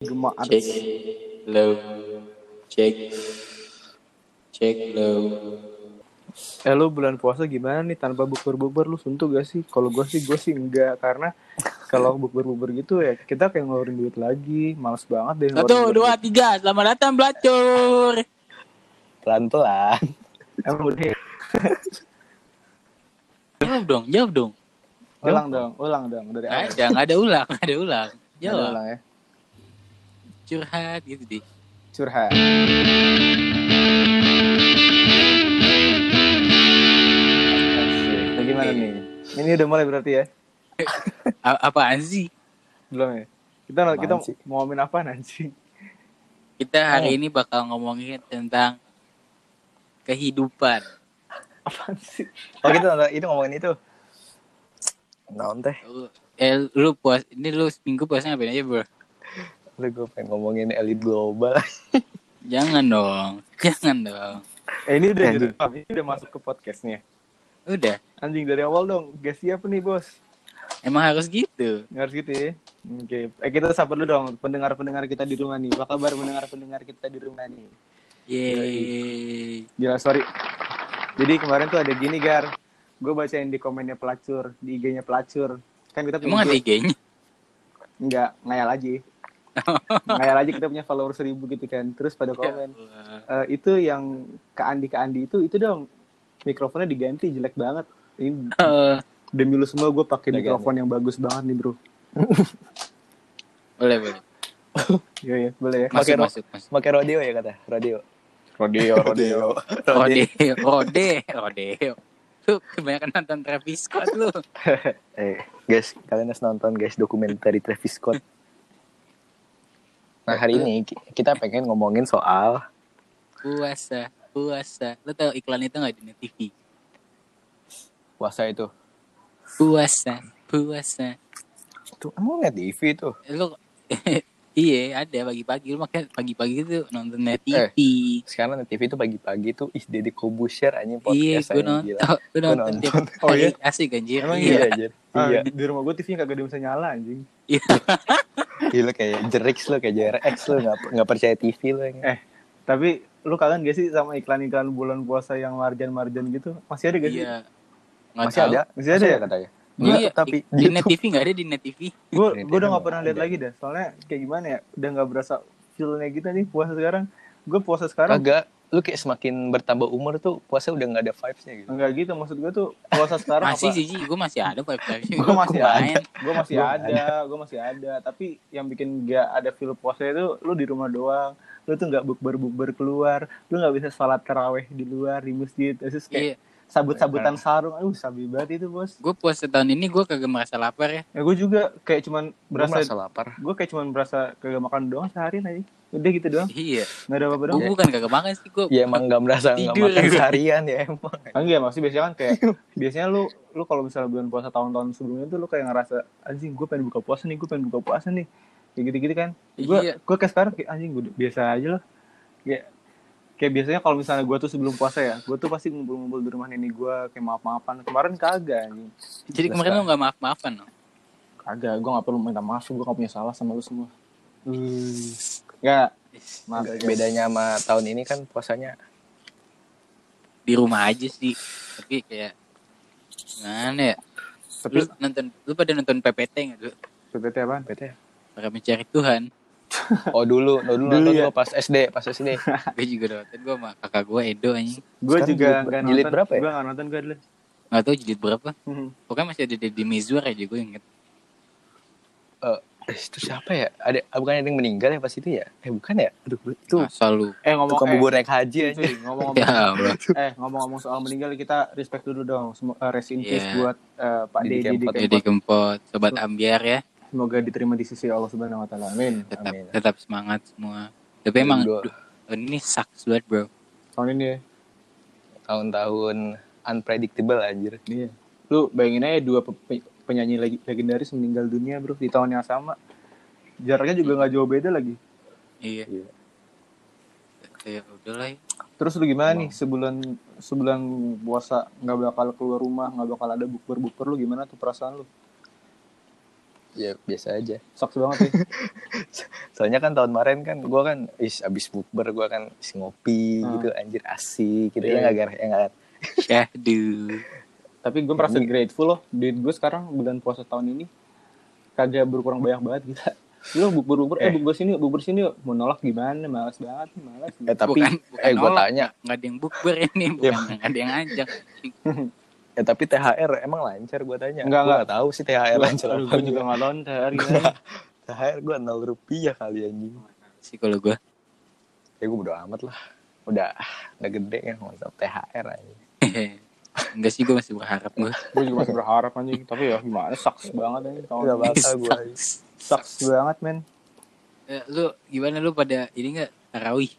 semua Eh, Cek artis low. Cek. Cek low. Eh lu bulan puasa gimana nih tanpa bubur-bubur lu suntuk gak sih? Kalau gue sih gue sih enggak karena kalau bubur-bubur gitu ya kita kayak ngeluarin duit lagi, males banget deh. ngeluarin Satu, duit. dua, tiga. Selamat datang belacur. pelan-pelan. Emang ya? udah. Jawab dong, jawab dong. Ulang dong, ulang dong dari awal. Nggak ada, nggak ada ulang, nggak ada ulang. Ada Jawab. ulang ya. Curhat gitu deh. Curhat. Asik. Gimana nih? Ini udah mulai berarti ya? A- apaan sih? Belum ya? Kita Apaan kita sih? mau ngomongin apa nanti? Kita hari ini bakal ngomongin tentang kehidupan. Apaan sih? Oh gitu, Nah, nonton- itu ngomongin itu. Naon teh, Eh, lu puas, ini lu minggu puasnya ngapain aja bro? lu gue pengen ngomongin elit global. Jangan dong, jangan dong. Eh ini udah jadi ini udah masuk ke podcastnya. Udah, Anjing dari awal dong. Guys siapa nih bos? emang harus gitu. Nggak harus gitu ya. Oke, eh, kita sabar dulu dong pendengar-pendengar kita di rumah nih. Apa kabar pendengar-pendengar kita di rumah nih? Yeay. Gila, sorry. Jadi kemarin tuh ada gini, Gar. Gue bacain di komennya pelacur, di IG-nya pelacur. Kan kita Emang ada grup. IG-nya? Enggak, ngayal aja. ngayal aja kita punya follower seribu gitu kan. Terus Iya. pada komen, "Eh, itu yang ke Andi-ke Andi itu, itu dong mikrofonnya diganti, jelek banget. Ini Eh, demi lu semua gue pakai Udah mikrofon yang bagus banget nih, bro. boleh, boleh. Iya, iya, boleh ya. Masuk, Pakai rok. masuk, masuk. Pakai rodeo ya kata, rodeo. Rodeo, rodeo. Rodeo, rodeo, rodeo. Lu kebanyakan nonton Travis Scott lu. Eh, guys, kalian harus nonton guys dokumenter dari Travis Scott. Nah hari ini ki- kita pengen ngomongin soal Puasa, puasa. Lu tau iklan itu nggak di Net TV? puasa itu. Puasa, puasa. Tuh emang liat TV tuh. Eh, Lu Iya, ada pagi-pagi. Lu makanya pagi-pagi itu nonton Net Eh, TV. Sekarang di TV tuh pagi-pagi tuh ih Deddy Kobusher anjing Iya, podcast gue nonton. Gue Gua nonton tiap nonton. Oh, hari. iya? Asik anjir. Emang Iya, Iya. anjir. Ah, Iya, di, di rumah gue TV-nya kagak ada yang bisa nyala, anjing. Iya. gila kayak jerix lu kayak JRX lu nggak nggak percaya TV lu yang Eh, tapi lu kangen gak sih sama iklan-iklan bulan puasa yang marjan-marjan gitu? Masih ada gak sih? Iya. Nggak masih tahu. ada Masih ada ya? katanya. Iya, Iya, tapi di- di Net TV nggak ada di Net TV. gue Ini gue udah dia nggak pernah lihat ada. lagi dah soalnya kayak gimana ya udah nggak berasa feelnya gitu nih puasa sekarang gue puasa sekarang Kagak, lu kayak semakin bertambah umur tuh puasa udah nggak ada vibes-nya gitu. enggak gitu maksud gue tuh puasa sekarang Masih apa- sih, gue masih ada Five Live. gue masih Gua ada gue masih Gua ada gue masih ada tapi yang bikin gak ada feel puasa itu lu di rumah doang lu tuh nggak bukber bukber keluar lu nggak bisa sholat teraweh di luar di masjid terus kayak Iya, sabut sabutan sarung aduh sabi banget itu bos gue puasa tahun ini gue kagak merasa lapar ya. ya gue juga kayak cuman Gua merasa berasa lapar. gue kayak cuman berasa kagak makan doang seharian aja udah gitu doang Iya, nggak ada apa-apa doang gue bukan kagak makan sih gue. Ya emang nggak merasa nggak Tidur. makan seharian ya emang. Enggak, maksudnya biasanya kan kayak biasanya lu lu kalau misalnya bulan puasa tahun-tahun sebelumnya tuh lu kayak ngerasa anjing gue pengen buka puasa nih, gue pengen buka puasa nih. Kayak gitu-gitu kan. Gue Iya. gue kayak sekarang kayak anjing gue biasa aja loh. Kayak kayak biasanya kalau misalnya gue tuh sebelum puasa ya, gue tuh pasti ngumpul-ngumpul di rumah nenek gue kayak maaf-maafan. Kemarin kagak anjing. Jadi kemarin lu nggak maaf maafan loh. Kagak, gue gak perlu minta maaf, gue gak punya salah sama lu semua. Hmm. Enggak, maaf. guys. Bedanya sama tahun ini kan puasanya Di rumah aja sih, tapi kayak gimana ya? Lu Tapi nonton, lu pada nonton PPT nggak lu? PPT apaan? ya? bete. Para mencari Tuhan. Oh dulu, oh, dulu, Dulu nonton ya. gua pas SD, pas Eh, SD. Gue juga nonton, gue sama kakak gue Edo anjing. Gue Sekarang juga jilid- gak nonton. jilid berapa ya? Gue gak nonton gue dulu. Nggak tahu jadi berapa. Pokoknya masih ada di, di Mizwar aja gue inget. Eh, itu siapa ya? Ada ah, bukan ada yang meninggal ya pas itu ya? Eh bukan ya? Aduh, gua- itu Masa lu. Eh ngomong tukang eh, bubur naik haji aja. cuy, ngomong-ngomong Ya Allah. eh ngomong-ngomong soal meninggal kita respect dulu dong Semo- eh, rest in peace Iya. buat eh, Pak Didi Deddy di Kempot. Jadi Kempot. kempot, sobat ambiar ya. semoga diterima di sisi Allah Subhanahu wa taala amin tetap Amin. tetap semangat semua tapi Amin, emang bro. duh, tahun ini sucks banget bro tahun ini ya Tahun-tahun unpredictable anjir. iya. lu bayangin aja dua pe- pe- penyanyi leg- legendaris meninggal dunia bro di tahun yang sama jaraknya juga nggak jauh beda lagi iya Iya. ya udahlah ya. terus lu gimana nih sebulan sebulan puasa nggak bakal keluar rumah nggak bakal ada bukber bukber lu gimana tuh perasaan lu ya biasa aja Soks banget ya. sih. soalnya kan tahun kemarin kan gue kan is abis bukber gue kan is ngopi Hmm. gitu anjir asik gitu Iya. ya nggak gar ya nggak Syahdu. Tapi gue merasa Ini- grateful loh. Duit gue sekarang bulan puasa tahun ini kagak berkurang banyak banget gitu. Lu bubur bubur, eh, Eh. bubur sini yuk, bubur sini yuk. Mau nolak gimana? Malas banget, nih, malas. eh tapi Bukan- bukan eh gue nolak. tanya Nggak ada yang bukber ini, bukan nggak ada yang ajak. eh tapi THR emang lancar gue tanya Enggak, Gua enggak. nggak tahu sih Eh, THR lancar Aduh, apa gue juga enggak. nggak lontar. gimana? Gua- THR gue nol rupiah kali anjing Sih kalau gue ya gue udah amat lah udah udah gede kan mantap THR aja enggak sih gue masih berharap gue. gue juga masih berharap anjing tapi ya gimana sucks banget anjing tahun udah ini. bakal gue sucks banget men Eh, lu gimana lu pada ini enggak tarawih?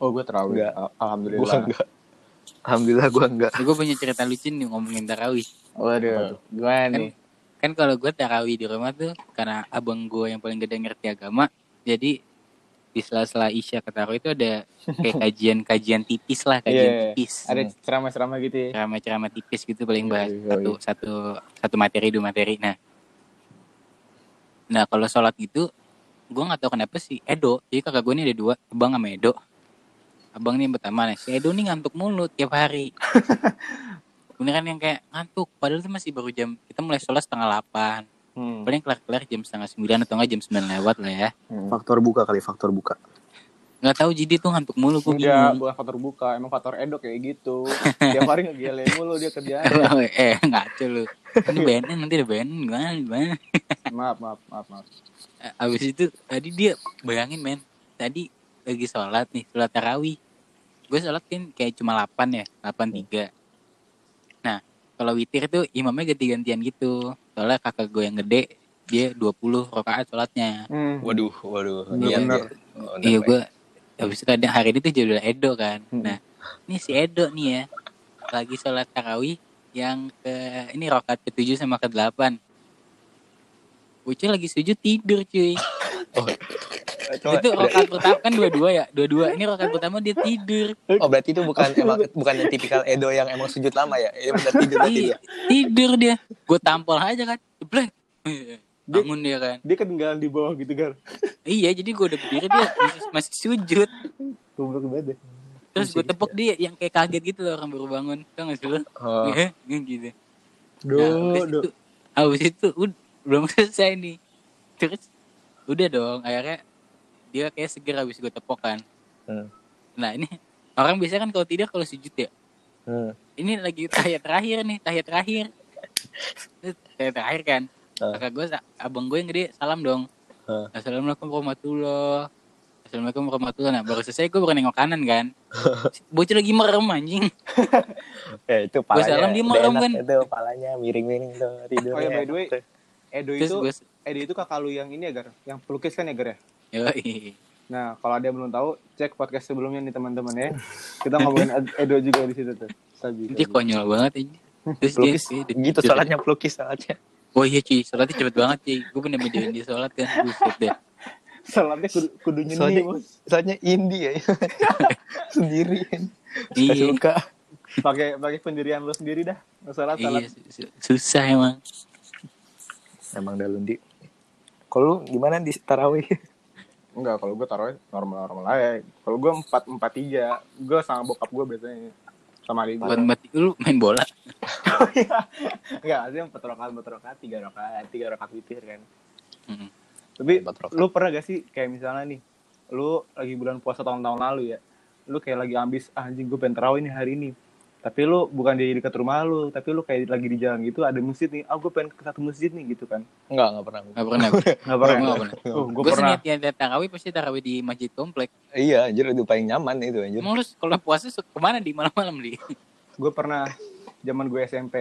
oh gue terawih Enggak. Al- gue alhamdulillah enggak alhamdulillah gue enggak Gue punya cerita lucu nih ngomongin tarawih. waduh gue nih Kan kalau gue tarawih di rumah tuh karena abang gue yang paling gede ngerti agama, jadi di sela-sela isya ke tarawih itu ada kayak kajian-kajian tipis lah, kajian Iya, iya. tipis. ada ceramah-ceramah gitu ya ceramah-ceramah tipis gitu paling Yoi, Iya, bahas yoi. satu satu satu materi dua materi nah nah kalau sholat gitu gue nggak tahu kenapa sih Edo jadi kakak gue ini ada dua abang sama Edo abang ini yang pertama nah si Edo nih ngantuk mulu tiap hari beneran yang kayak ngantuk padahal itu masih baru jam kita mulai sholat setengah delapan Hmm. paling kelar-kelar jam setengah sembilan atau enggak jam sembilan lewat lah ya faktor buka kali faktor buka nggak tahu jadi tuh ngantuk mulu gue Enggak, bingung bukan faktor buka, emang faktor edok kayak gitu. Tiap hari ngegele mulu dia kerjaan. eh ngaco lu ini BNN nanti ada BNN gimana gimana Maaf, maaf, maaf, maaf. Eh, Abis itu tadi dia bayangin men Tadi lagi sholat nih Sholat tarawih Gue sholat kan kayak cuma 8 ya 8-3 Nah kalau witir tuh imamnya ganti-gantian gitu Soalnya kakak gue yang gede Dia 20 rakaat sholatnya Hmm. waduh waduh Iya, bener. Oh, Iya bener, gue Abis itu kadang hari ini tuh judul Edo kan Nah ini si Edo nih ya Lagi sholat tarawih Yang ke Ini rakaat ke-7 sama ke-8 Ucuy lagi sujud tidur cuy Pak. Eh, Coba, itu udah- rokat pertama kan dua-dua ya dua-dua ini rokat pertama dia tidur Oh berarti itu bukan emang bukan yang tipikal Edo yang emang sujud lama ya? Ini benar tidur berarti Iya, dia. tidur dia gue tampol aja kan Jeblek. bangun dia kan Dia ketinggalan di bawah gitu, Gar. iya jadi gue udah berdiri dia masih, masih sujud Goblok banget deh. terus gue tepuk dia yang kayak kaget gitu loh orang baru bangun tau gak sih lo Oh, Iya, gitu Do, do. abis Nah, itu, abis itu ud- belum selesai nih terus udah dong akhirnya dia kayak seger abis gue tepokan kan. Hmm. nah ini orang biasanya kan kalau tidur kalau sujud ya hmm. ini lagi tahiyat terakhir nih tahiyat terakhir Terus tahiyat terakhir kan Ah. kakak gue abang gue yang gede salam dong Ah. assalamualaikum warahmatullah assalamualaikum warahmatullah nah baru selesai gue bukan nengok kanan kan bocah lagi merem anjing Eh itu palanya. salam, dia udah merem enak kan. Itu palanya miring-miring tuh tidurnya. Oh ya, by the way, Edo terus itu gue Edo itu kakak lu yang ini ya, Gar. Yang pelukis kan ya, Gar ya? yoi Nah, kalau ada yang belum tahu, cek podcast sebelumnya nih teman-teman ya. Kita ngomongin Ed- Edo juga di situ tuh. Sabi. dia konyol banget ini terus dia, pelukis dia- gitu dia- salatnya pelukis salatnya. oh iya cuy sholatnya cepet banget cuy gue bener benerin dia sholat kan buset deh Salamnya kudu, kudu Soalnya- nyeni, Bos. Salatnya indie ya. Sendiri. Gak iya suka. Pakai pakai pendirian lu sendiri dah. Salat iya salat. su- su- susah emang Emang dah lundi. Kalau lu gimana di tarawih? Enggak, kalau gue taruh normal-normal aja. Kalau gue 4 4 3, gue sama bokap gue biasanya sama adik gue. bukan mati lu main bola Enggak, ada yang 4 rokaat, 4 rokaat, 3 rokaat, 3 rokaat witir kan. Mm. Tapi Empat rokaat. lu pernah gak sih kayak misalnya nih, lu lagi bulan puasa tahun-tahun lalu ya. Lu kayak lagi ambis, ah, anjing gue pengen tarawih nih hari ini. Tapi lu bukan di dekat rumah lu, tapi lu kayak lagi di jalan gitu ada masjid nih. Ah, gue pengen ke satu masjid nih gitu kan. Enggak, enggak pernah. nggak pernah Enggak pernah. Nggak ya? pernah. Oh, gue gue pernah. sih tiap tiap tarawih pasti tarawih di masjid komplek. Iya, anjir itu paling nyaman itu anjir. Emang lu kalau puasa suka kemana di malam-malam di? Gue pernah zaman gue SMP.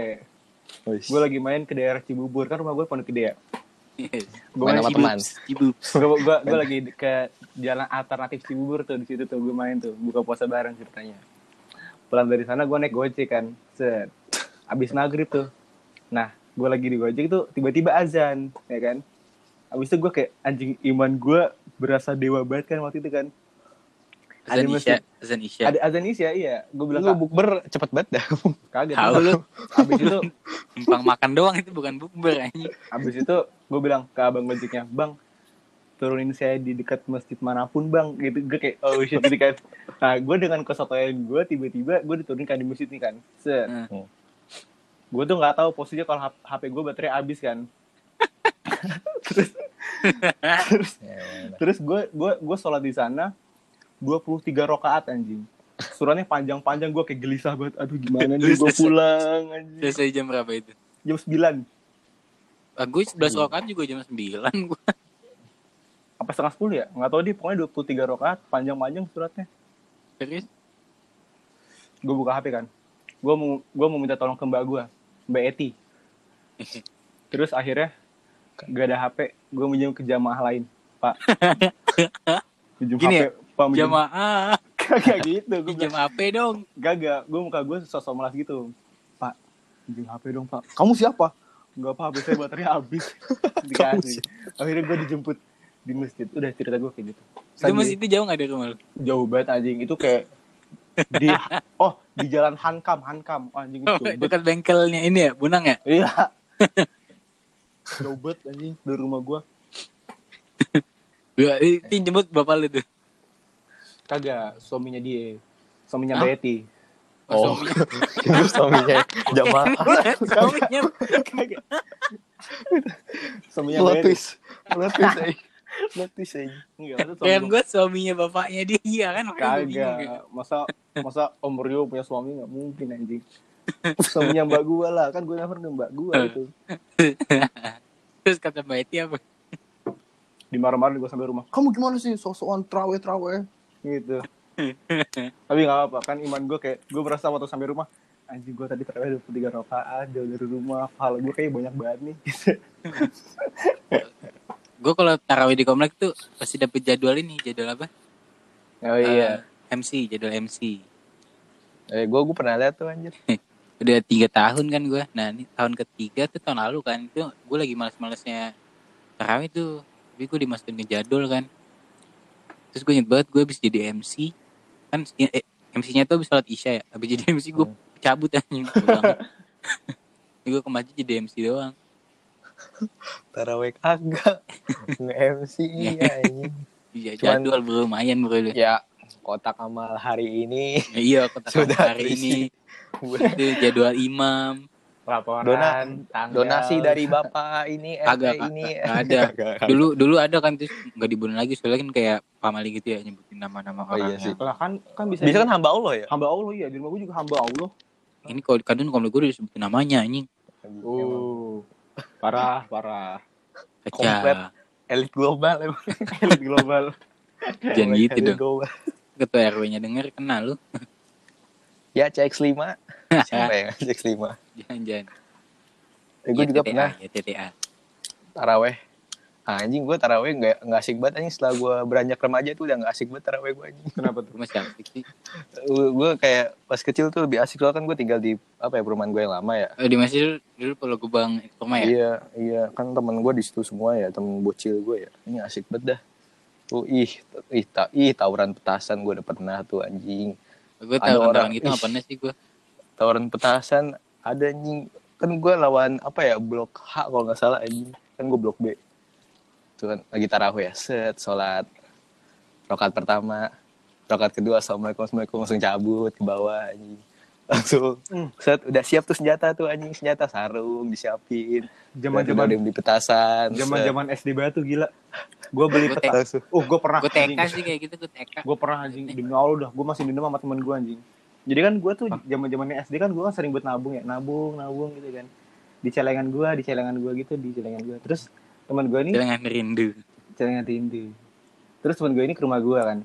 Wih. Gue lagi main ke daerah Cibubur, kan rumah gue Pondok Gede ya. Gue main Main sama teman. Ibu. gue gua, gua lagi di- ke jalan alternatif Cibubur tuh di situ tuh gue main tuh buka puasa bareng ceritanya pulang dari sana gue naik gojek kan set abis maghrib tuh nah gue lagi di gojek tuh tiba-tiba azan ya kan abis itu gue kayak anjing iman gue berasa dewa banget kan waktu itu kan Azan Anime Isya, Azan Isya. Ada azan Isya iya. Gue bilang Lu bukber cepet banget dah. "Kak, kaget. Tahu lu. Abis itu Numpang makan doang itu bukan bukber anjing. abis itu gue bilang ke abang ojeknya, "Bang, turunin saya di dekat masjid manapun bang gitu gue kayak oh shit gitu kan nah gue dengan kesotoyan gue tiba-tiba gue diturunkan di masjid nih kan set Hmm. gue tuh nggak tahu posisinya kalau hap- hp gue baterai habis kan terus terus terus gue gue gue sholat di sana 23 rokaat anjing suratnya panjang-panjang gue kayak gelisah banget aduh gimana nih gue pulang anjing Selesai jam berapa itu? jam 9 Ah, gue 11 rakaat juga jam 9 gue. apa setengah 10 ya nggak tahu deh pokoknya 23 rokaat panjang-panjang suratnya Serius? gue buka HP kan gue mau gue mau minta tolong ke mbak gue mbak Eti terus akhirnya gak ada HP gue minjem ke jamaah lain pak minjem Gini ya, HP pak minjem Jamaah. kagak gitu gue bilang Jam HP dong. gagak gue muka gue sosok malas gitu pak minjem HP dong pak kamu siapa Gak apa HP saya baterainya habis dikasih akhirnya gue dijemput di masjid udah cerita gue kayak gitu Itu Sambil- masih itu jauh gak dari rumah lu? jauh banget anjing itu kayak di oh di jalan Hankam Hankam anjing itu jauh banget. Oh, Dekat bengkelnya ini ya, Bunang ya? Iya. Jauh banget anjing dari rumah gua. Gua itu yang jemput bapak lu tuh. Kagak, suaminya dia. Suaminya Hah? Betty. Oh, itu suaminya jamaah. Suaminya Kagak. suaminya Plot Betty. twist. Plot twist, eh. Plot twist, eh. Enggak, itu suami Kayak gua. gue suaminya bapaknya dia iya kan makanya gua bingung kayak, Kagak. Masa masa Om Rio punya suami nggak mungkin anjing. suaminya Mbak gua lah, kan gua never ke Mbak gua Eh. itu. Terus kata Mbak Eti apa? Dimarah-marahin gua sampai rumah. Kamu gimana sih sok-sokan trawe-trawe? Gitu. Tapi nggak apa-apa, kan iman gua kayak gua merasa waktu sampai rumah anjing gua tadi terawih 23 rakaat jauh dari rumah pahala gua kayak banyak banget nih Gue kalau tarawih di komplek tuh pasti dapet jadwal ini, jadwal apa? oh iya. Eh, MC, jadwal MC. Eh, gua gua pernah lihat tuh anjir. Udah tiga tahun kan gue. Nah ini tahun ketiga tuh tahun lalu kan. Itu gue lagi males-malesnya tarawih tuh. Tapi gue dimasukin ke jadwal kan. Terus gue inget banget gue habis jadi MC. Kan MC-nya tuh habis sholat isya ya. Habis jadi MC Oh. gue cabut anjing. gue ke masjid jadi MC doang. Taraweh kagak. Nge-MC iya anjing. Iya Cuman- jadwal bro, lumayan bro. Ya, Ya, kotak amal hari ini iya aku tahu Sudah hari ini itu jadwal imam. laporan Dona- tanggal. donasi dari bapak ini RT Kagak, kagak. ini. Nggak ada. Kagak, kagak. Dulu dulu ada kan terus nggak dibunuh lagi soalnya kan kayak pamali gitu ya nyebutin nama-nama Oh, orang. iya sih. lah kan kan bisa, Bisa kan hamba Allah ya? hamba Allah ya di rumah gue juga hamba Allah Ini kalau di kadun komplek gue udah disebutin namanya anjing. Uh. Emang. parah parah Komplet. Kacau. Elit global emang. elit global Jangan gitu Elit dong. global. Ketua RW-nya denger kena lu. Ya, CX5. Siapa ya CX5? Jangan-jangan. Eh, gue Iya, juga TTA, pernah Ya TTA. taraweh. Ah, Anjing gue taraweh nggak nggak asik banget anjing setelah gue beranjak remaja tuh udah nggak asik banget taraweh gue anjing. kenapa tuh Gue masih asik sih. Gue gue kayak pas kecil tuh lebih asik soalnya kan gue tinggal di apa ya perumahan gue yang lama ya. Oh, di masjid dulu- dulu kalau gue bang rumah ya. Iya iya kan temen gue di situ semua ya temen bocil gue ya ini asik banget dah. Tuh ih t- ih, ta, ih tawuran petasan gue udah pernah tuh anjing. Gue tahu Ada orang orang- gitu Ih. nggak pernah sih gue. Tawuran petasan ada anjing kan gue lawan apa ya blok H kalau nggak salah anjing kan gue blok B. Tuh kan lagi tarawih ya set sholat rokat pertama rokat kedua assalamualaikum assalamualaikum langsung cabut ke bawah anjing langsung set udah siap tuh senjata tuh anjing senjata sarung disiapin zaman zaman Udah beli petasan set. Eh, zaman zaman SD batu gila gue beli Gua peta langsung oh gue pernah Gue TK anjing. sih kayak gitu. Gue TK. gue pernah anjing demi Allah dah gue masih dendam sama teman gue anjing jadi kan gue tuh zaman zamannya SD kan gue kan sering buat nabung ya nabung nabung gitu kan di celengan gue di celengan gue gitu di celengan gue terus teman gue ini Jangan rindu. celengan rindu terus teman gue ini ke rumah gue kan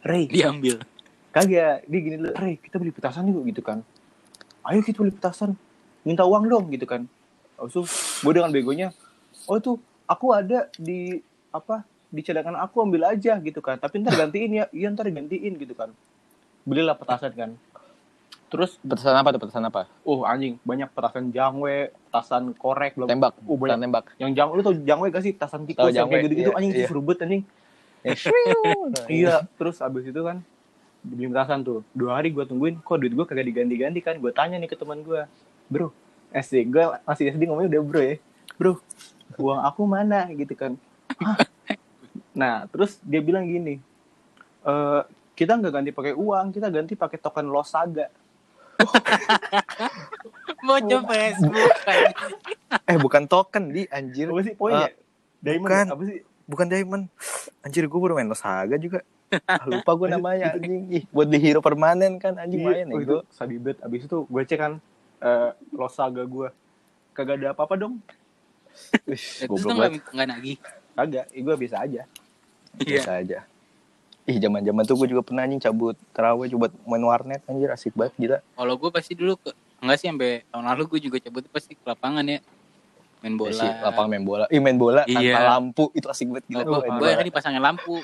Rey Diambil. kagak dia gini dulu Rey kita beli petasan yuk gitu kan ayo kita beli petasan minta uang dong gitu kan Lalu gue dengan begonya oh tuh aku ada di apa di cadangan aku ambil aja gitu kan tapi ntar gantiin ya iya ntar gantiin gitu kan belilah petasan kan terus petasan apa tuh petasan apa oh anjing banyak petasan jangwe petasan korek belum tembak Oh, banyak. petasan tembak yang jang lu tau jangwe gak sih petasan tikus Tahu yang jangwe, kayak gitu gitu iya, anjing iya. serubut anjing Yang shriu. Iya, terus abis itu kan dibeli petasan tuh. Dua hari gue tungguin, kok duit gue kagak diganti-ganti kan? Gue tanya nih ke teman gue, bro, SD gue masih SD ngomongnya udah bro ya, bro, uang aku mana gitu kan? Hah? Nah, terus dia bilang gini, e, kita nggak ganti pakai uang, kita ganti pakai token Losaga. Bocah Facebook. Eh bukan token di anjir. Apa sih poinnya? Gitu. Eh, Diamond ya? bukan. apa sih? Bukan diamond. Anjir gue baru main Losaga juga. Ah, lupa gue namanya anjing. Ih, buat di hero permanen kan anjing main oh, ya itu sabi bet. Abis itu gue cek kan eh, Losaga gue kagak ada apa-apa dong. Terus Goblok tuh banget. nggak nggak nagih. Kagak, gue biasa aja. Iya. Biasa aja. Ih zaman-zaman tuh gue juga pernah anjing cabut terawih coba main warnet anjir asik banget gila. Kalau gue pasti dulu ke enggak sih sampai tahun lalu gue juga cabut pasti ke lapangan ya. Main bola. Isi lapang main bola. Ih main bola Iya. tanpa lampu itu asik banget gila. Gue Main gue bola. akhirnya dipasangin lampu.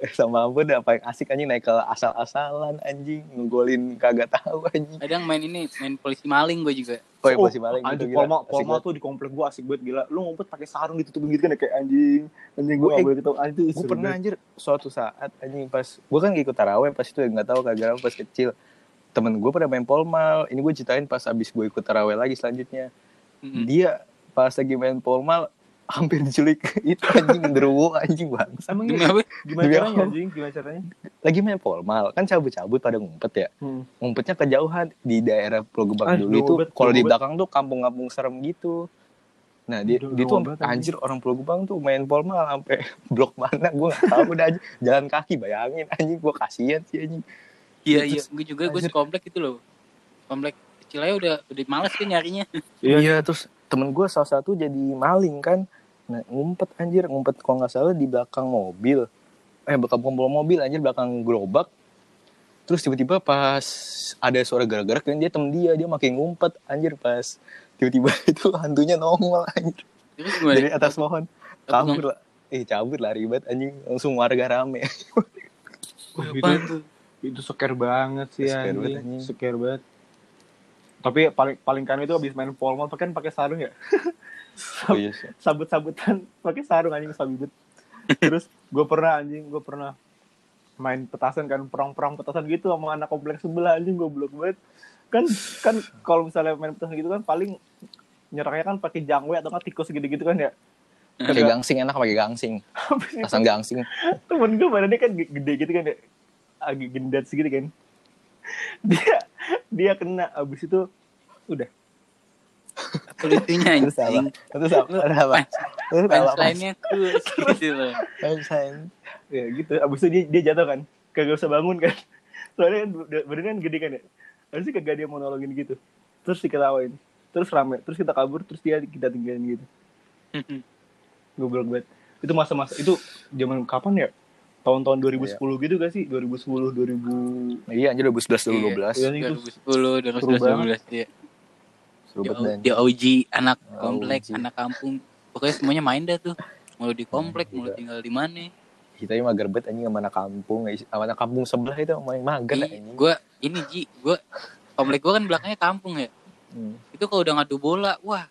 Eh, sama ampun udah paling asik anjing naik ke asal-asalan anjing ngegolin kagak tahu anjing Kadang main ini main polisi maling gue juga. oh, ya, Oh, masih maling gitu, anjing gila. polma Asik polma banget. tuh di komplek gua asik banget gila lu ngumpet pakai sarung ditutupin gitu kan ya, kayak anjing anjing gua Oh, eh, Gua- nggak boleh ketemu Ah, anjing gue pernah anjir suatu saat anjing pas gue kan ikut taraweh pas itu ya nggak tahu kagak apa pas kecil temen gue pada main polmal ini gue ceritain pas abis gue ikut taraweh lagi selanjutnya Mm-mm. dia pas lagi main polmal hampir diculik itu anjing genderuwo anjing bang emang Demi apa? gimana Demi caranya apa? anjing gimana caranya lagi main polmal kan cabut-cabut pada ngumpet ya Hmm. ngumpetnya kejauhan di daerah Pulau Gebang Ah, dulu Pulau itu Gebang, kalau Pulau di Gebang. belakang tuh kampung-kampung serem gitu nah di, Aduh, di tuh Gebang, anjir orang Pulau Gebang tuh main polmal sampai blok mana gue nggak tahu udah anjing. jalan kaki bayangin anjing gue kasihan sih anjing Iya iya. Terus- Gue juga gue Anjir. sekomplek itu loh. Komplek kecil aja udah udah males kan nyarinya. Iya. iya terus temen gue salah satu jadi maling kan nah, ngumpet anjir ngumpet kalau nggak salah di belakang mobil eh belakang belakang mobil anjir belakang gerobak terus tiba-tiba pas ada suara gerak-gerak dan dia temen dia dia makin ngumpet anjir pas tiba-tiba itu hantunya nongol anjir Terus gimana? dari atas pohon Kabur. kabur lah eh cabut lari banget anjing langsung warga rame Wah, Apaan itu tuh? itu scare banget sih Scare banget, anjing anjing. scare banget tapi paling paling kan itu abis main polmal tuh kan pakai sarung ya oh, iya, sih. sabut-sabutan pakai sarung anjing sabibut terus gue pernah anjing gue pernah main petasan kan perang-perang petasan gitu sama anak kompleks sebelah anjing gue blok banget kan kan kalau misalnya main petasan gitu kan paling nyerangnya kan pakai jangwe atau nggak tikus gitu-gitu kan ya pakai Kagak- gangsing enak pakai gangsing Habis itu pasang gangsing temen gue badannya kan ge- gede gitu kan ya agak gendat segitu kan dia dia kena abis itu udah Kulitnya terus apa anjing. terus apa terus apa terus apa Punchline-nya kurs gitu loh. Punchline. ya gitu abis itu dia, dia jatuh kan kagak usah bangun kan soalnya kan ba- badannya kan gede kan ya abis itu kagak dia mau nolongin gitu terus diketawain terus rame terus kita kabur terus dia kita tinggalin gitu goblok banget itu masa-masa itu zaman kapan ya tahun-tahun Iya. 2010 gitu gak sih 2010 2000 iya anjir 2011 Iya, 2012 nih, itu 2010, seru banget. 2011, ya. seru Di, banget dan di OG, anak OG. komplek, anak kampung. Pokoknya semuanya main dah tuh. Mau di komplek, mau lu tinggal di mana. kita ini mager banget anjing sama anak kampung eh, sama anak kampung sebelah itu main mager Di, anjing gua ini Ji, gua komplek gua kan belakangnya kampung ya. Hmm. Itu kalau udah ngadu bola, wah.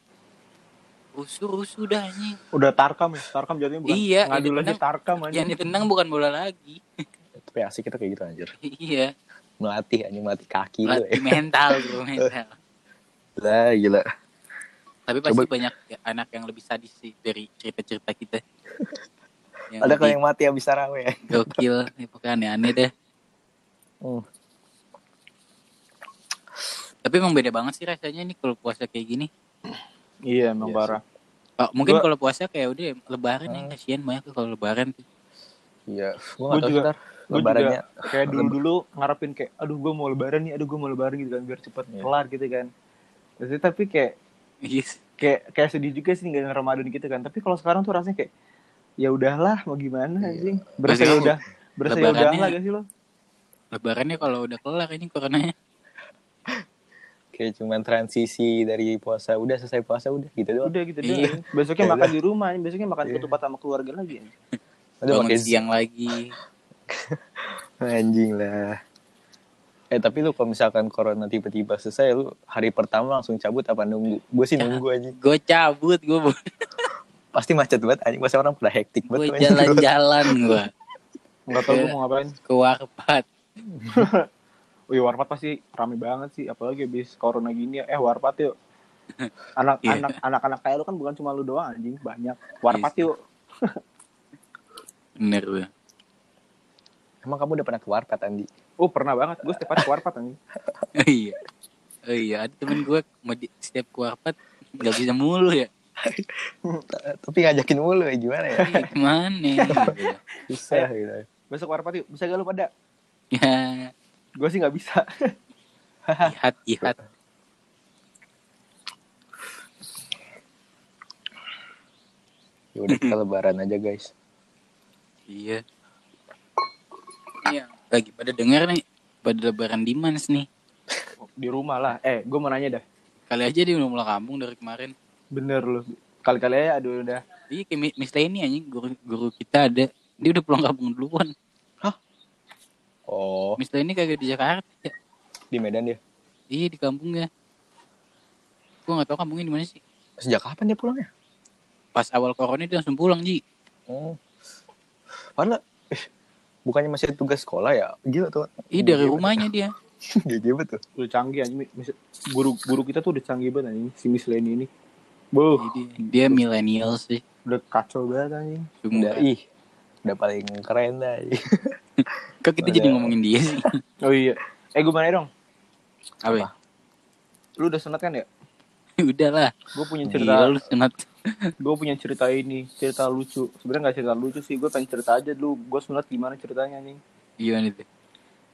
Rusuh-rusuh dah anjing. udah tarkam ya tarkam jatuhnya bukan Iya, ngadu iya, lagi tenang. tarkam aja Yang ditendang bukan bola lagi. tapi asik kita kayak gitu anjir iya, melatih anjing melatih kaki lu latih ya mental bro, mental. gila gila Tapi pasti Coba- banyak ya, anak yang lebih sadis sih dari cerita-cerita kita. Yang ada kalau lebih yang mati habis taraweh ya gokil, ya, pokoknya aneh-aneh deh. Hmm. Tapi emang beda banget sih rasanya nih kalau puasa kayak gini. iya emang Iya parah Oh, mungkin Gua- kalau puasa kayak udah lebaran ya, kasihan banyak tuh kalau lebaran tuh. iya Gua gua nggak tahu juga- sebentar gue lebarannya juga kayak Iya. dulu dulu ngarepin kayak aduh gue mau lebaran nih aduh gue mau lebaran gitu kan biar cepet Iya. kelar gitu kan Terus, tapi kayak Yes. kayak kayak sedih juga sih nggak ada Ramadan gitu kan tapi kalau sekarang tuh rasanya kayak ya udahlah mau gimana anjing berasa ya Berarti Iya. kamu udah berasa ya udah lebarannya- lah gak sih lo Lebarannya kalau udah kelar ini coronanya. kayak cuman transisi dari puasa udah selesai puasa udah gitu doang udah gitu Iya. doang besoknya Ya makan udah. di rumah besoknya makan Iya. ketupat sama keluarga lagi anjing. udah Bangun pakai siang lagi. anjing lah eh tapi lu kalau misalkan corona tiba-tiba selesai lu hari pertama langsung cabut apa nunggu gue sih nunggu anjing Gue cabut, gue pasti macet banget anjing pasti orang pada gue hektik banget tuh, anjing. jalan-jalan gue. nggak Iya. tahu gue mau ngapain ke warpat Wih warpat pasti rame banget sih, apalagi abis corona gini ya. Eh warpat yuk. Anak Iya. anak anak anak kayak lu kan bukan cuma lu doang anjing, banyak. Warpat Iya sih. yuk. bener gue Emang kamu udah pernah ke warpat, Andi? Oh pernah banget, gue setiap hari ke warpat anjing. Oh iya. Oh iya, ada temen gue mau di, setiap kuarpat nggak bisa mulu ya. Eh, Tapi ngajakin mulu ya, gimana ya? Iya, Gimana? Gitu. Susah gitu. Besok warpat yuk, bisa gak lu pada? Ya, Gue sih nggak bisa. ihat ihat. Ya udah kita lebaran aja, guys. Iya. Iya, lagi pada dengar nih pada lebaran di Mans nih. Di rumah lah. Eh gue mau nanya dah. Kali aja dia udah mulai kampung dari kemarin. Bener lu. Kali-kali aja aduh udah. Iya, kayak Mi- Miss Leni anjing guru guru kita ada. Dia udah pulang kampung duluan. Oh, Miss Leni kagak di Jakarta. Ya, di Medan dia. Iya, di kampungnya. Gue nggak tahu kampungnya di mana sih. Sejak kapan dia pulangnya? Pas awal corona dia langsung pulang, Ji. Oh. Padahal, eh, bukannya masih ada tugas sekolah ya? Gila tuh. Iya, dari Gila. rumahnya dia. Gila betul. Lu canggih anjing. Mis- Guru guru kita tuh udah canggih banget anjing. Si Miss Leni ini. Boh, Jadi dia milenial sih. udah kacau banget anjing. Udah, Sungguh. ih. Udah paling keren dah. ih. Kok kita jadi Udah. ngomongin dia sih? Oh iya. Eh gue mau nanya dong. Apa? ya? Lu udah sunat kan ya? Udah lah. Gue punya cerita. Gila Iya, lu sunat. gue punya cerita ini cerita lucu sebenarnya nggak cerita lucu sih gue pengen cerita aja dulu gue sunat gimana ceritanya nih Gimana tuh?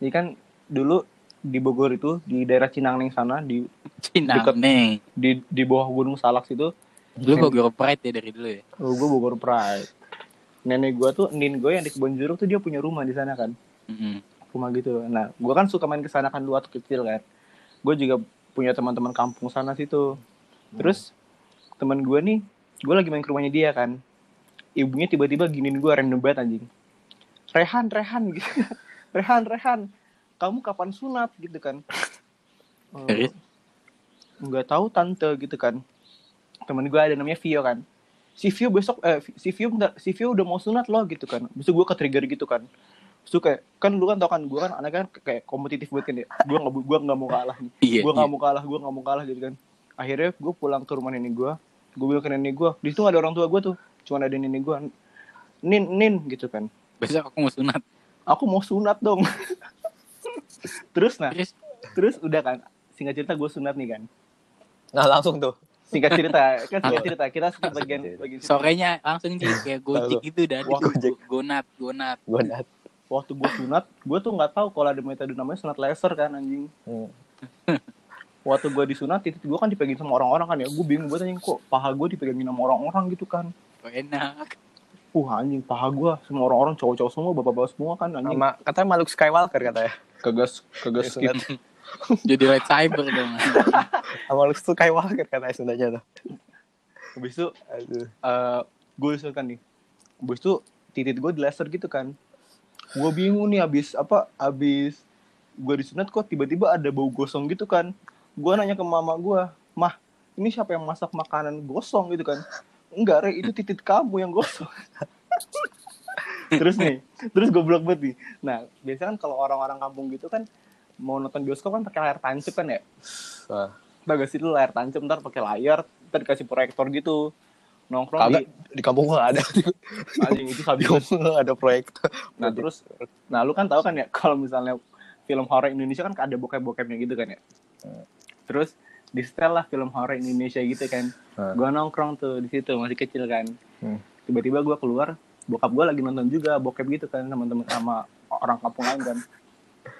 ini kan dulu di Bogor itu di daerah Cinangneng sana di Cina Deket. nih. di di bawah Gunung Salak situ Lu kok gue pride ya dari dulu ya? gue Bogor Pride nenek gue tuh nin gue yang di kebun jeruk tuh dia punya rumah di sana kan Mm-mm. rumah gitu nah gue kan suka main kesana kan dulu waktu kecil kan gue juga punya teman-teman kampung sana situ terus teman gue nih gue lagi main ke rumahnya dia kan ibunya tiba-tiba giniin gue random banget anjing Rehan Rehan gitu Rehan Rehan kamu kapan sunat gitu kan Eh, Serius? nggak tahu tante gitu kan teman gue ada namanya Vio kan si Vio besok eh, si Vio bentar, si Vio udah mau sunat loh gitu kan besok gue ke trigger gitu kan Terus kayak kan lu kan tau kan gue kan anaknya kan kayak kompetitif banget kan ya gue nggak gua nggak mau kalah nih Iya. gue nggak iya. mau kalah gue nggak mau kalah gitu kan akhirnya gue pulang ke rumah nenek gue gue bilang ke nenek gue di situ nggak ada orang tua gue tuh cuma ada nenek gue nin nin gitu kan Besok aku mau sunat. aku mau sunat dong terus nah Terus terus udah kan singkat cerita gue sunat nih kan Nah, langsung tuh. singkat cerita kan singkat cerita kita skip bagian bagian situ. sorenya langsung sih kayak gojek gitu dari Wah, Gojek. gonat gonat. Gue dat. waktu gue sunat gue tuh nggak tahu kalau ada metode namanya sunat laser kan anjing Hmm. waktu gue disunat titik gue kan dipegangin sama orang-orang kan ya gue bingung banget anjing kok paha gue dipegangin sama orang-orang gitu kan Kok enak. uh anjing paha gue semua orang-orang cowok-cowok semua bapak-bapak semua kan anjing Sama, katanya makhluk Skywalker katanya. Iya, kagak kagak skip Sunat. Jadi light cyber dong. Sama makhluk Skywalker katanya Sundanya tuh. habis itu Aduh. gue disuruh kan Eh, nih habis itu titik gue di laser gitu kan gue bingung nih habis apa habis gue disunat kok tiba-tiba ada bau gosong gitu kan gue nanya ke mama gue mah ini siapa yang masak makanan gosong gitu kan enggak re itu titik kamu yang gosong terus nih terus goblok banget nih nah biasanya kan kalau orang-orang kampung gitu kan mau nonton bioskop kan pakai layar tancap kan ya Wah. bagasi dulu layar tancap ntar pakai layar ntar dikasih proyektor gitu nongkrong Kagak di di kampung gua nggak ada. anjing itu Di sabi kampung gua nggak ada proyektor. Nah terus, nah lu kan tahu kan ya kalau misalnya film horor Indonesia kan ada bokep-bokepnya gitu kan ya. Terus di setel lah film horor Indonesia gitu kan. Hmm. Gua nongkrong tuh di situ masih kecil kan. Hmm. Tiba-tiba gua keluar, bokap gua lagi nonton juga bokep gitu kan teman-teman sama orang kampung lain kan.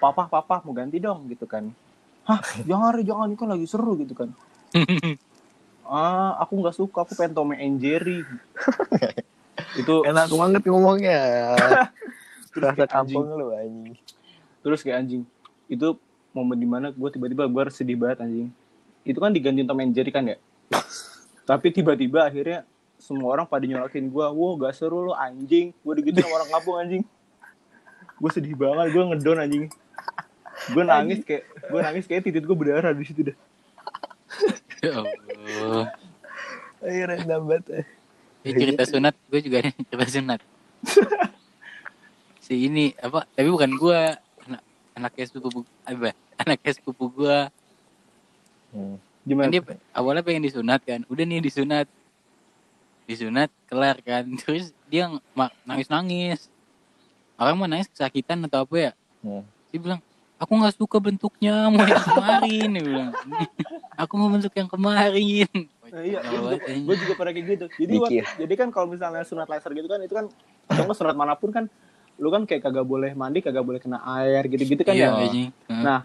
Papa, papa mau ganti dong gitu kan. Hah, jangan Re, jangan ini kan lagi seru gitu kan. ah, aku nggak suka, aku pengen Tom and Jerry. itu Enak banget ngomongnya. Terus Rasa kayak anjing. kampung lu anjing. terus kayak anjing itu momen dimana gue tiba-tiba gue sedih banget anjing itu kan digantiin Tom and Jerry kan ya tapi tiba-tiba akhirnya semua orang pada nyolakin gue wow gak seru lo anjing gue digituin sama orang kampung anjing gue sedih banget gue ngedon anjing gue nangis kayak gue nangis kayak titik gue berdarah di situ dah Ya Allah. Ayo random banget. eh. Ini cerita sunat gue juga ada cerita sunat. si ini apa tapi bukan gua anak anaknya sepupu apa anaknya sepupu gua Hmm. kan Gimana? dia pe- awalnya pengen disunat kan udah nih disunat disunat kelar kan terus dia nangis nangis orang mau nangis kesakitan atau apa ya Hmm. dia bilang aku nggak suka bentuknya mau yang kemarin dia bilang aku mau bentuk yang kemarin Nah, iya, Kacau banget, anjing. gue juga pernah kayak gitu. Jadi Mikir. waktu- jadi kan kalau misalnya sunat laser gitu kan itu kan atau nggak sunat manapun kan lu kan kayak kagak boleh mandi, kagak boleh kena air gitu-gitu kan iya, ya. anjing. Heeh. Nah,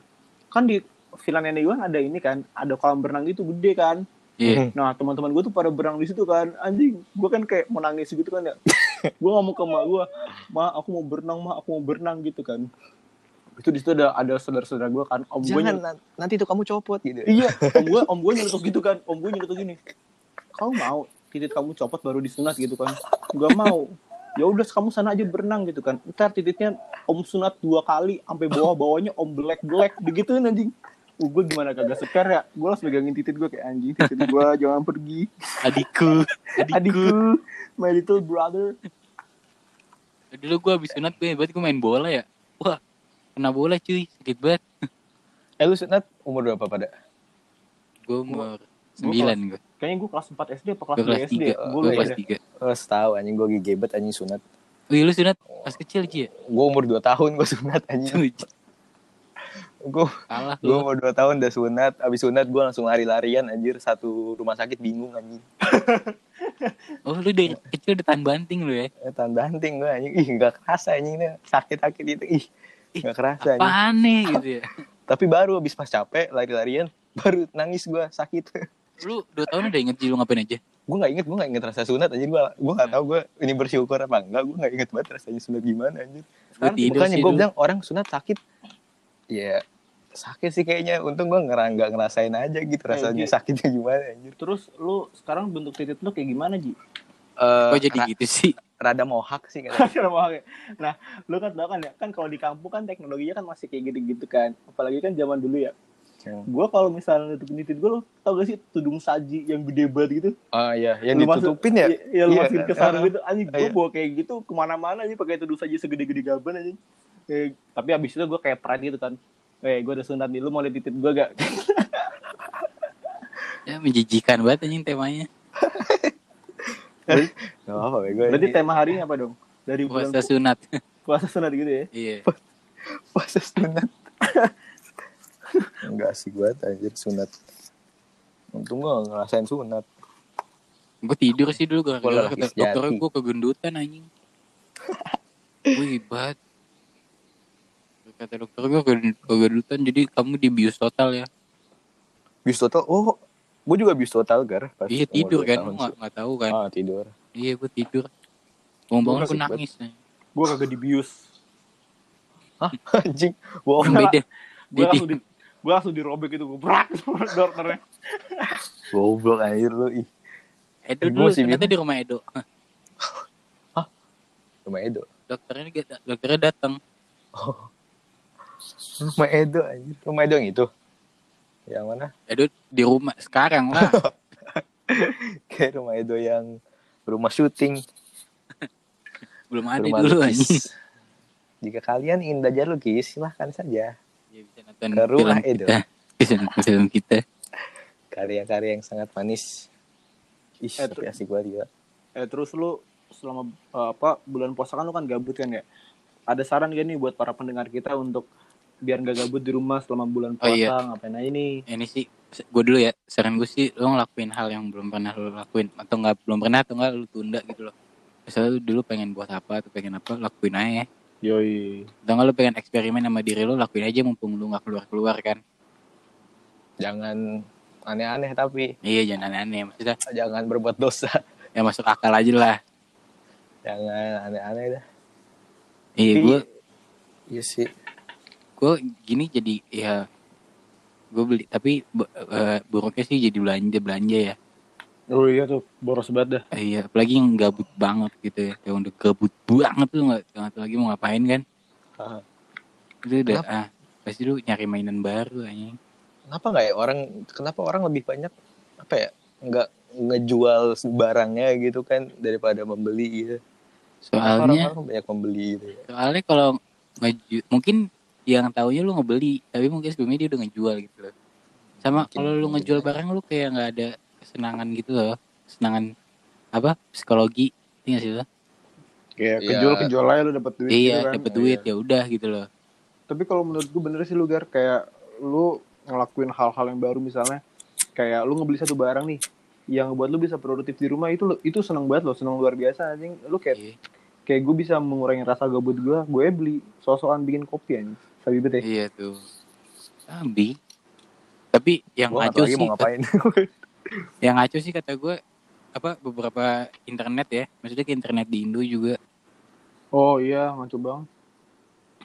kan di Villa Nenek Yuan ada ini kan, ada kolam berenang gitu gede kan. Iya. Nah, teman-teman gue tuh pada berang di situ kan. Anjing, gue kan kayak mau nangis gitu kan ya. gue ngomong ke emak gue, "Ma, aku mau berenang, Ma, aku mau berenang" gitu kan. Itu di situ ada ada saudara-saudara gue kan, om gue Jangan nan- nanti itu kamu copot gitu. Iya, om gue om gue nyelutuk gitu kan, om gue nyelutuk gini. Kamu mau titik kamu copot baru disunat gitu kan? Gak mau. Ya udah kamu sana aja berenang gitu kan. Ntar titiknya om sunat dua kali sampai bawah bawahnya om black black begitu anjing. Uh, gue gimana kagak sekar ya? Gue langsung megangin titik gue kayak anjing titik gue jangan pergi. adikku adikku Adikku, my little brother. dulu gua habis sunat gue berarti gue main bola ya wah kena bola cuy sakit banget Eh lu sunat umur berapa pada? gue umur sembilan gue Kayaknya gue kelas 4 SD apa kelas gue kelas 2 SD? ya. tiga Gue gue kelas tiga Oh, tahu anjing gue gigi gebet anjing sunat. Wih lu sunat pas kecil Ci ya? Gue umur 2 tahun gue sunat anjing. Cuy, Gue Kalah gue lu umur 2 tahun udah sunat, abis sunat gue langsung lari-larian anjir satu rumah sakit bingung anjing. Oh lu dari kecil udah tahan banting lu ya Eh, Tahan banting gue anjing. Ih, gak kerasa anjing nih. Sakit-sakit itu. Ih, Ih, gak kerasa anjing. Apaan nih gitu ya Tapi baru abis pas capek lari-larian baru nangis gue sakit. Lu dua tahun udah inget sih lu ngapain aja gue nggak inget gue nggak inget rasa sunat anjir gue gue nggak tahu gue ini bersyukur apa enggak gue nggak inget banget rasanya sunat gimana anjir Lu tidur bukannya sih gue dulu bilang orang sunat sakit ya sakit sih kayaknya untung gue ngerang nggak ngerasain aja gitu rasanya Ji. sakitnya gimana anjir Terus lu sekarang bentuk titik lu kayak gimana, Ji? Eh, Kok jadi ra- gitu sih rada mohak sih kan Hasil pakai. Nah, lu kan tau kan ya, kan kalau di kampung kan teknologinya kan masih kayak gitu-gitu kan. Apalagi kan zaman dulu ya. Hmm. Gua kalau misalnya nutupin titik gue, lu tau gak sih tudung saji yang gede banget gitu? oh iya yang Lu masuk- ditutupin ya I- Iya, lu Iya, masukin ke sarung ah, gitu. Anjing, iya. gue bawa kayak gitu kemana-mana aja pakai tudung saji segede-gede gaban aja. Eh, tapi abis itu gue kayak peran gitu kan. Eh, gue ada sunat nih, lu mau liat titik gue gak? Ya menjijikan banget anjing temanya Iya. nggak ya. apa gue Berarti tema harinya apa dong? Dari bulan Puasa sunat puasa sunat gitu ya? Iya puasa sunat enggak sih gue anjir sunat untung gue nggak ngerasain sunat Gue tidur sih dulu Bola gara-gara laki kata sejati. dokternya gue kegendutan anjing. Wih hebat. Kata dokter gue kegendutan jadi kamu dibius total ya. bis total oh gue juga bis total gar pas Iya umur tidur dua kan, tahun lu nggak nggak tahu kan. Ah tidur. Iya gue tidur. Bangun-bangun gue Lu sakit nangis. anjing. Gue kagak dibius. Hah anjing. Wow. Gua- gue Beda. Jadi langsung di gue langsung dirobek gitu gue brak dokternya Goblok anjir lu ih. Edo gua dulu sih ternyata bingung. di rumah Edo. Hah, Rumah Edo. Dokternya dia- dokternya datang. Rumah Edo anjir. Rumah Edo yang itu. Yang mana? Edo Ya, di rumah sekarang lah. Kayak rumah Edo yang rumah syuting, Belum ada rumah dulu anjing. lukis. Jika kalian ingin belajar lukis, silahkan saja. Ya, bisa nonton Ke rumah film Edo. kita. Bisa nonton film kita. Karya-karya yang sangat manis. Ih, Eh, tuh. tapi asik gua dia. eh terus lu selama eh, apa bulan puasa kan lu kan gabut kan ya ada saran gak nih buat para pendengar kita untuk biar nggak gabut di rumah selama bulan Oh, puasa iya. ngapain aja nih ini sih gue dulu ya saran gue sih lo ngelakuin hal yang belum pernah lo lakuin atau nggak belum pernah atau nggak lo tunda gitu loh misalnya lo dulu pengen buat apa atau pengen apa lakuin aja ya. yoi atau nggak lo pengen eksperimen sama diri lo lakuin aja mumpung lo nggak keluar keluar kan Jangan aneh-aneh tapi iya jangan aneh-aneh maksudnya jangan berbuat dosa. ya masuk akal aja lah Jangan aneh-aneh dah. iya Tapi- gue Iya sih. gue gini jadi ya gue beli tapi bu- eh, buruknya sih jadi belanja belanja ya oh iya tuh boros banget dah Eh, iya apalagi yang gabut banget gitu ya yang udah gabut banget tuh nggak nggak tahu lagi mau ngapain kan Ah. itu udah ah pasti lu nyari mainan baru anjing kenapa nggak ya orang kenapa orang lebih banyak apa ya nggak ngejual barangnya gitu kan daripada membeli gitu Soalnya Orang-orang banyak membeli gitu ya. soalnya kalau ngeju mungkin yang taunya lu ngebeli, tapi mungkin sebelumnya dia udah ngejual gitu loh. Sama Mungkin, kalau lu mungkin ngejual juga. barang lu kayak nggak ada kesenangan gitu loh. Kesenangan apa? Psikologi. Iya sih lo? Kayak Iya. kejual kejual aja lu dapat duit Iya, gitu kan. dapet duit ya udah gitu loh. Tapi kalau menurut gue bener sih lu Gar kayak lu ngelakuin hal-hal yang baru misalnya kayak lu ngebeli satu barang nih yang buat lu bisa produktif di rumah itu lu- itu seneng banget loh seneng luar biasa anjing lu kayak Iya. kayak gue bisa mengurangi rasa gabut gue gue beli sosokan bikin kopi anjing sabi bet ya Iya tuh. Abi. Tapi yang Gua nggak ngaco tahu lagi sih, mau ngapain. yang ngaco sih kata gue apa beberapa internet ya, maksudnya ke internet di Indo juga. oh iya ngaco bang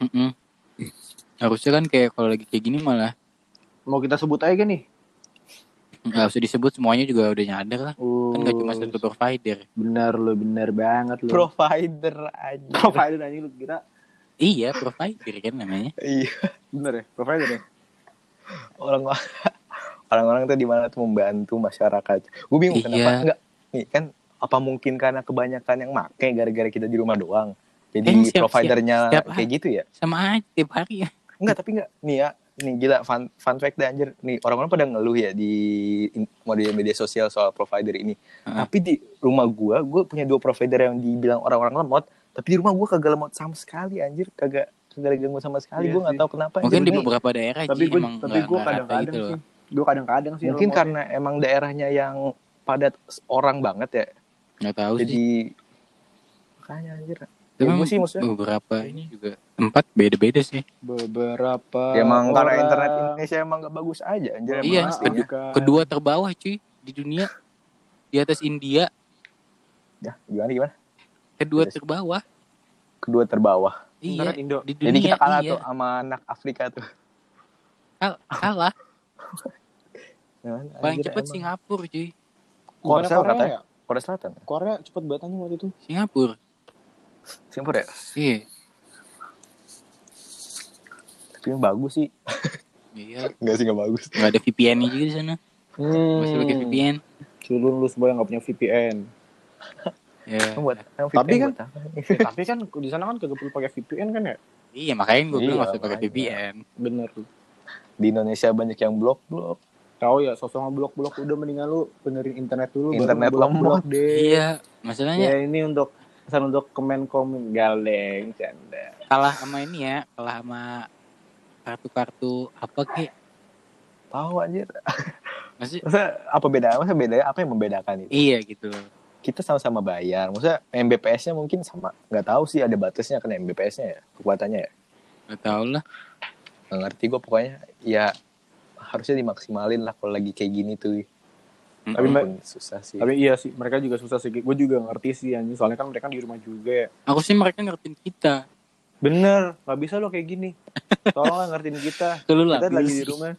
Mm-mm. Harusnya kan kayak kalau lagi kayak gini malah mau kita sebut aja kan nih nggak usah disebut semuanya juga udah nyadar lah. Kan gak cuma Uh, satu provider. benar lo benar banget lo Provider aja. provider anjing lu kira Iya, provider kan namanya. Iya. bener ya provider ya Orang orang-orang tuh di mana tuh membantu masyarakat. Gue bingung kenapa Iya. enggak. Nih kan apa mungkin karena kebanyakan yang make gara-gara kita di rumah doang. Jadi Eh, siap- providernya siap- siap kayak gitu ya. Sama aja tiap hari ya. Enggak, tapi enggak. Nih ya, nih gila fun, fun fact deh anjir. Nih orang-orang pada ngeluh ya di in- media media sosial soal provider ini. Heeh. Tapi di rumah gua, gua punya dua provider yang dibilang orang-orang lemot, tapi di rumah gua kagak lemot sama sekali anjir, kagak kagak diganggu sama sekali. Iya gua nggak sih. tahu kenapa. Mungkin di anjir. beberapa daerah tapi sih gue emang tapi nggak- gue nggak rata kadang-kadang gitu loh. sih gue kadang-kadang sih ya. mungkin remote. karena emang daerahnya yang padat orang banget ya. Nggak tahu sih. Jadi makanya anjir. Tapi ya gua emang sih maksudnya. beberapa ini juga tempat beda-beda sih. beberapa Ya, emang karena orang- internet Indonesia emang gak bagus aja anjir. emang Iya, aslinya. kedua- Kedua terbawah cuy di dunia. Di atas India, Ya, gimana gimana? kedua Yes. terbawah. Kedua terbawah. Internet Iya, Indo di dunia. Jadi kita kalah iya. tuh sama anak Afrika tuh. Kal- kalah. Nah, Paling anjir, cepet emang. Singapura cuy. Bukannya Korea Korea katanya. ya? Korea Selatan. Korea cepet banget anjing waktu itu Singapura. Singapura ya? Iya. Tapi yang bagus sih. Iya. Enggak sih enggak bagus. Nggak ada VPN juga di sana. Masih Hmm. Hmm. pakai VPN. culun lu semua yang gak punya VPN Ya. Emang buat emang Tapi VPN kan- buat apa? Ya, tapi kan di sana kan kagak perlu pakai VPN kan ya Iya, makanya gue bilang Iya, nggak usah pakai makanya. VPN. bener di Indonesia banyak yang blok-blok. tahu ya sosok ngeblok-blok udah mendingan lu benerin internet dulu baru Internet ngeblok-blok deh Iya, masalahnya ya ini untuk pesan untuk kemenkomin galeng canda kalah sama ini ya, kalah sama kartu-kartu apa kek. Tahu anjir. Masih Masa apa bedanya? Masa bedanya apa yang membedakan itu? iya gitu loh. Kita sama-sama bayar. Maksudnya MBPS-nya mungkin sama. Enggak tahu sih ada batasnya kan MBPS-nya ya, kekuatannya ya. Gak tau lah. Nggak ngerti gua pokoknya ya harusnya dimaksimalin lah kalau lagi kayak gini tuh. Tapi Mm-mm. Mbak- Walaupun susah sih. tapi iya sih mereka juga susah sih gue juga ngerti sih anjing soalnya kan mereka di rumah juga ya Aku sih mereka ngertiin kita. Bener, nggak bisa lo kayak gini. Tolonglah ngertiin kita. Itu lu Kita labil lagi di sih. rumah.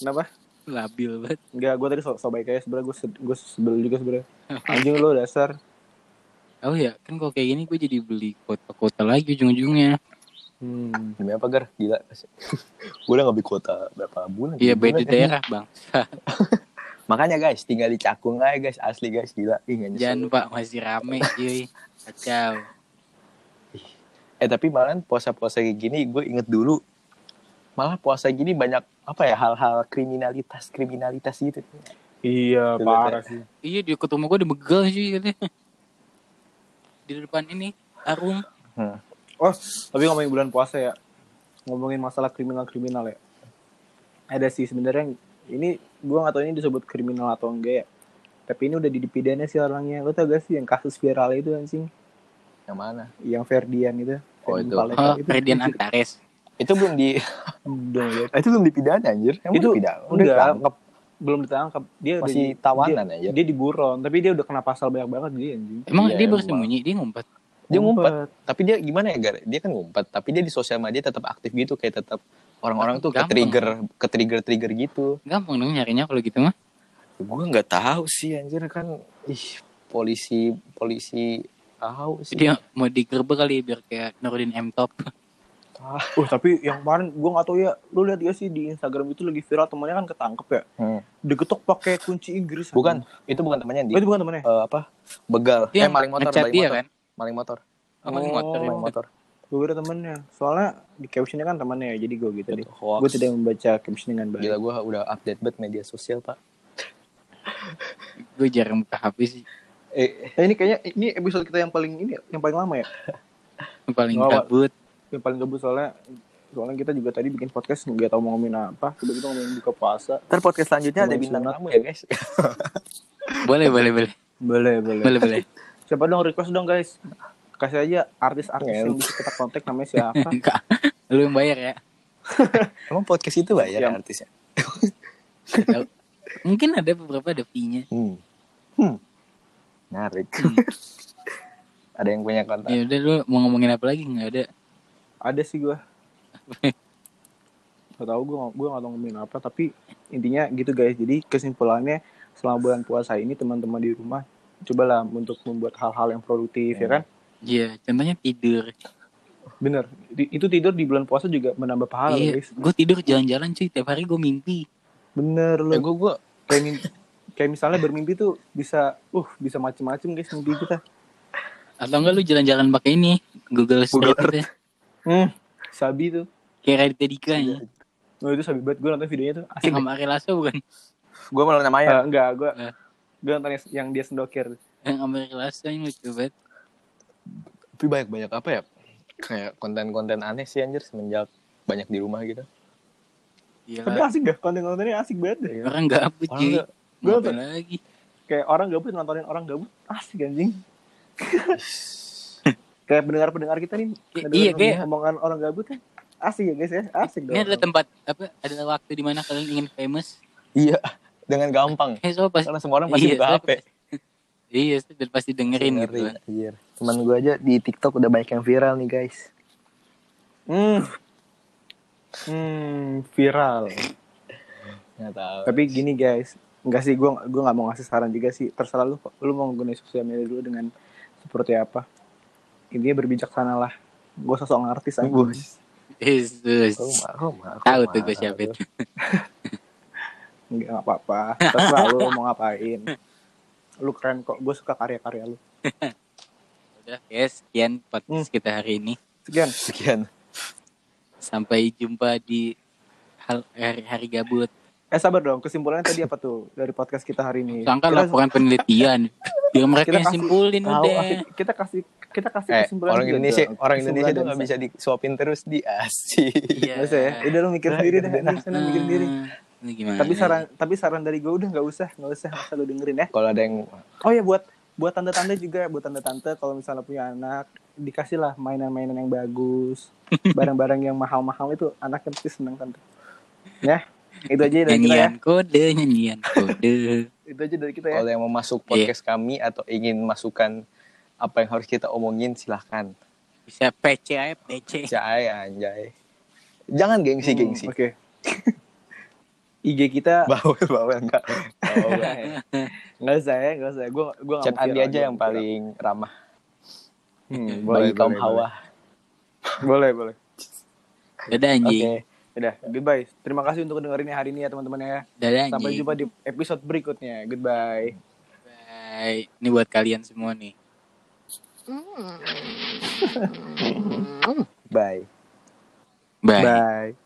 Kenapa? Labil banget. Enggak, gue tadi so, so baik aja sebenernya. Gue gue sebel juga sebenernya. Anjing lo dasar. Oh ya, kan kalau kayak gini gue jadi beli kota-kota lagi ujung-ujungnya. Hmm. Demi apa Gar? Gila. Gue udah nggak beli kuota berapa bulan. gitu, Iya, Tiga beda bulan. daerah bang. Makanya guys, tinggal di Cakung aja guys. Asli guys, gila. Ih, nggak nyesel. Jangan pak, masih rame cuy. Kacau. Eh tapi malahan puasa-puasa kayak gini gue inget dulu. Malah puasa gini banyak apa ya hal-hal kriminalitas kriminalitas gitu. Iya, Bener, parah sih. Iya, di ketemu gue udah begal sih katanya. Di depan ini, Arum. Oh, tapi ngomongin bulan puasa ya. Ngomongin masalah kriminal-kriminal ya. Ada sih sebenarnya yang- ini gue gak tau ini disebut kriminal atau enggak ya. Tapi ini udah dipidana sih orangnya. Lo tau gak sih yang kasus viral itu anjing? Yang mana? Yang Ferdian itu. Oh, Ferdian itu. Paleka. Oh, Itu- Ferdian Antares. Itu belum di Udah, ya. itu belum dipidana anjir. Emang Itu dipidana. Udah Enggak, ditangkap. belum ditangkap. Dia udah masih iya. di- tawanan Dia, anjir. dia diburon, tapi dia udah kena pasal banyak banget dia anjing. Emang Iya, dia emang. bersembunyi, dia ngumpet. Dia ngumpet, tapi dia gimana ya Gar? Dia kan ngumpet, tapi dia di sosial media tetap aktif gitu kayak tetap orang-orang tuh ke Gampang. trigger ke trigger trigger gitu. Gampang dong nyarinya kalau gitu mah. Gue nggak tahu sih anjir kan ih polisi polisi tahu sih. Dia mau digerbek kali biar kayak Nurdin M Top. Uh, tapi yang kemarin gua nggak tahu ya, lu lihat ya sih di Instagram itu lagi viral temannya kan ketangkep ya. Hmm. Digetok pakai kunci Inggris. Bukan, itu bukan temannya anjing. di Oh, itu bukan temannya. eh, apa? Begal. Dia eh maling motor, Iya, ngecat maling dia motor. kan. Maling motor. Oh, pakai motor ya. pakai motor. Gue kira temennya. Soalnya di captionnya kan temennya ya, jadi gue gitu deh. Hoax. Gue tidak membaca caption dengan baik. Gila gue udah update banget media sosial pak. Gue jarang buka HP sih. Eh, Eh, ini kayaknya ini episode kita yang paling ini ya, yang paling lama ya. Yang Paling Nggak, Pak. kabut. Yang paling gabut soalnya soalnya kita juga tadi bikin podcast nggak tahu mau ngomongin apa. Tiba kita ngomongin buka puasa. ntar podcast selanjutnya ada Ngomongin bintang sunat. tamu ya guys. Boleh, boleh, boleh. Boleh, boleh. Boleh, boleh. Siapa dong request dong guys. Kasih aja artis-artis yang bisa kita kontak namanya siapa. Enggak. Lu yang bayar ya. Emang podcast itu banyak Yang- artisnya. Nggak tahu. Mungkin ada beberapa ada fee-nya. Hmm. Menarik. ada yang punya kontak. Ya udah lu mau ngomongin apa lagi? Enggak ada. ada sih gue gak tau gue gue gak tau ngomongin apa tapi intinya gitu guys jadi kesimpulannya selama bulan puasa ini teman-teman di rumah cobalah untuk membuat hal-hal yang produktif ya kan Iya, contohnya tidur. bener Di- itu tidur di bulan puasa juga menambah pahala iya, guys gue tidur jalan-jalan cuy. Tiap hari gue mimpi. bener Eh, loh Ya, gue gue kayak, mim- kayak misalnya bermimpi tuh bisa uh bisa macem-macem guys mimpi kita Atau enggak lu jalan-jalan pakai ini. Google Street Google gitu ya. hmm sabi tuh Kayak Raditya Dika ya. Oh, itu sabi banget gue nonton videonya tuh asik Yang sama Ari Lasso bukan? gue malah Eh, namanya. enggak gue Eh. gue nonton yang- yang dia sendokir Yang sama Ari Eh, Lasso yang lucu banget. Tapi banyak banyak apa ya? Kayak konten-konten aneh sih anjir semenjak banyak di rumah gitu. tapi Gila. asik dah konten-kontennya asik banget deh Orang gabut Orang cuy. nggak- gua Ngapain lagi? kayak orang gabut nontonin orang gabut asik anjing kayak pendengar pendengar kita nih I- ngedengerin iya, kayak- omongan orang gabut kan asik ya guys ya asik dong Ini adalah tempat apa? Adalah waktu di mana kalian ingin famous. Iya. Dengan gampang. Eh, so pas Karena semua orang pasti Iya, buka saya- HP. Iya, so, dan pasti dengerin gitu. Ngeri, anjir. Teman gue aja di TikTok udah banyak yang viral nih guys. hmm. Hmm, viral Nggak tahu. tapi gini guys enggak sih gue gue nggak mau ngasih saran juga sih terserah lu lu mau menggunakan sosial media dulu dengan seperti apa intinya berbijaksanalah gue sosok artis aja Yesus. Rumah, rumah, Tahu rumah. tuh gue siapa itu. nggak apa-apa terserah lu mau ngapain lu keren kok gue suka karya-karya lu Udah, guys, sekian podcast kita hari ini. sekian Sekian. Sampai jumpa di hal hari-hari gabut. Eh sabar dong, kesimpulannya tadi apa tuh dari podcast kita hari ini? Sangka kita, laporan penelitian. Biar mereka Kita yang kasih simpulin tahu, udah. kita, kasih kita kasih Eh, kesimpulan orang juga, Indonesia, dong. orang Indonesia Kesimpulan tuh nggak dan- bisa disuapin terus di asik. Iya. Nggak usah ya. Udah lu mikir sendiri dah, lu sana mikir sendiri. Ah, ini gimana? Tapi saran tapi saran dari gue udah nggak usah, nggak usah, nggak usah lu dengerin ya. Kalau ada yang Oh ya buat buat tante-tante juga, buat tante-tante kalau misalnya punya anak dikasihlah mainan-mainan yang bagus, barang-barang yang mahal-mahal itu anaknya pasti senang tante. Ya, itu aja dari kita ya. nyanyian kode, nyanyian kode. Itu aja dari kita ya. kalau yang mau Iya. masuk podcast kami atau ingin masukan apa yang harus kita omongin silahkan. Bisa PC aja, PC. Cai anjay. Jangan gengsi Hmm, gengsi. Oke. IG kita Bawel bawel enggak. Bawel. Nggak usah ya, nggak usah. Gue gue Chat Andi aja yang paling ramah hmm, boleh, bagi kaum boleh, hawa. Boleh, boleh. Dadah Oke. anjing. Udah, goodbye. Terima kasih untuk dengerinnya hari ini ya teman-teman ya. Dadah anjing. Sampai jumpa di episode berikutnya. Goodbye. Bye. Ini buat kalian semua nih. Bye. Bye. Bye.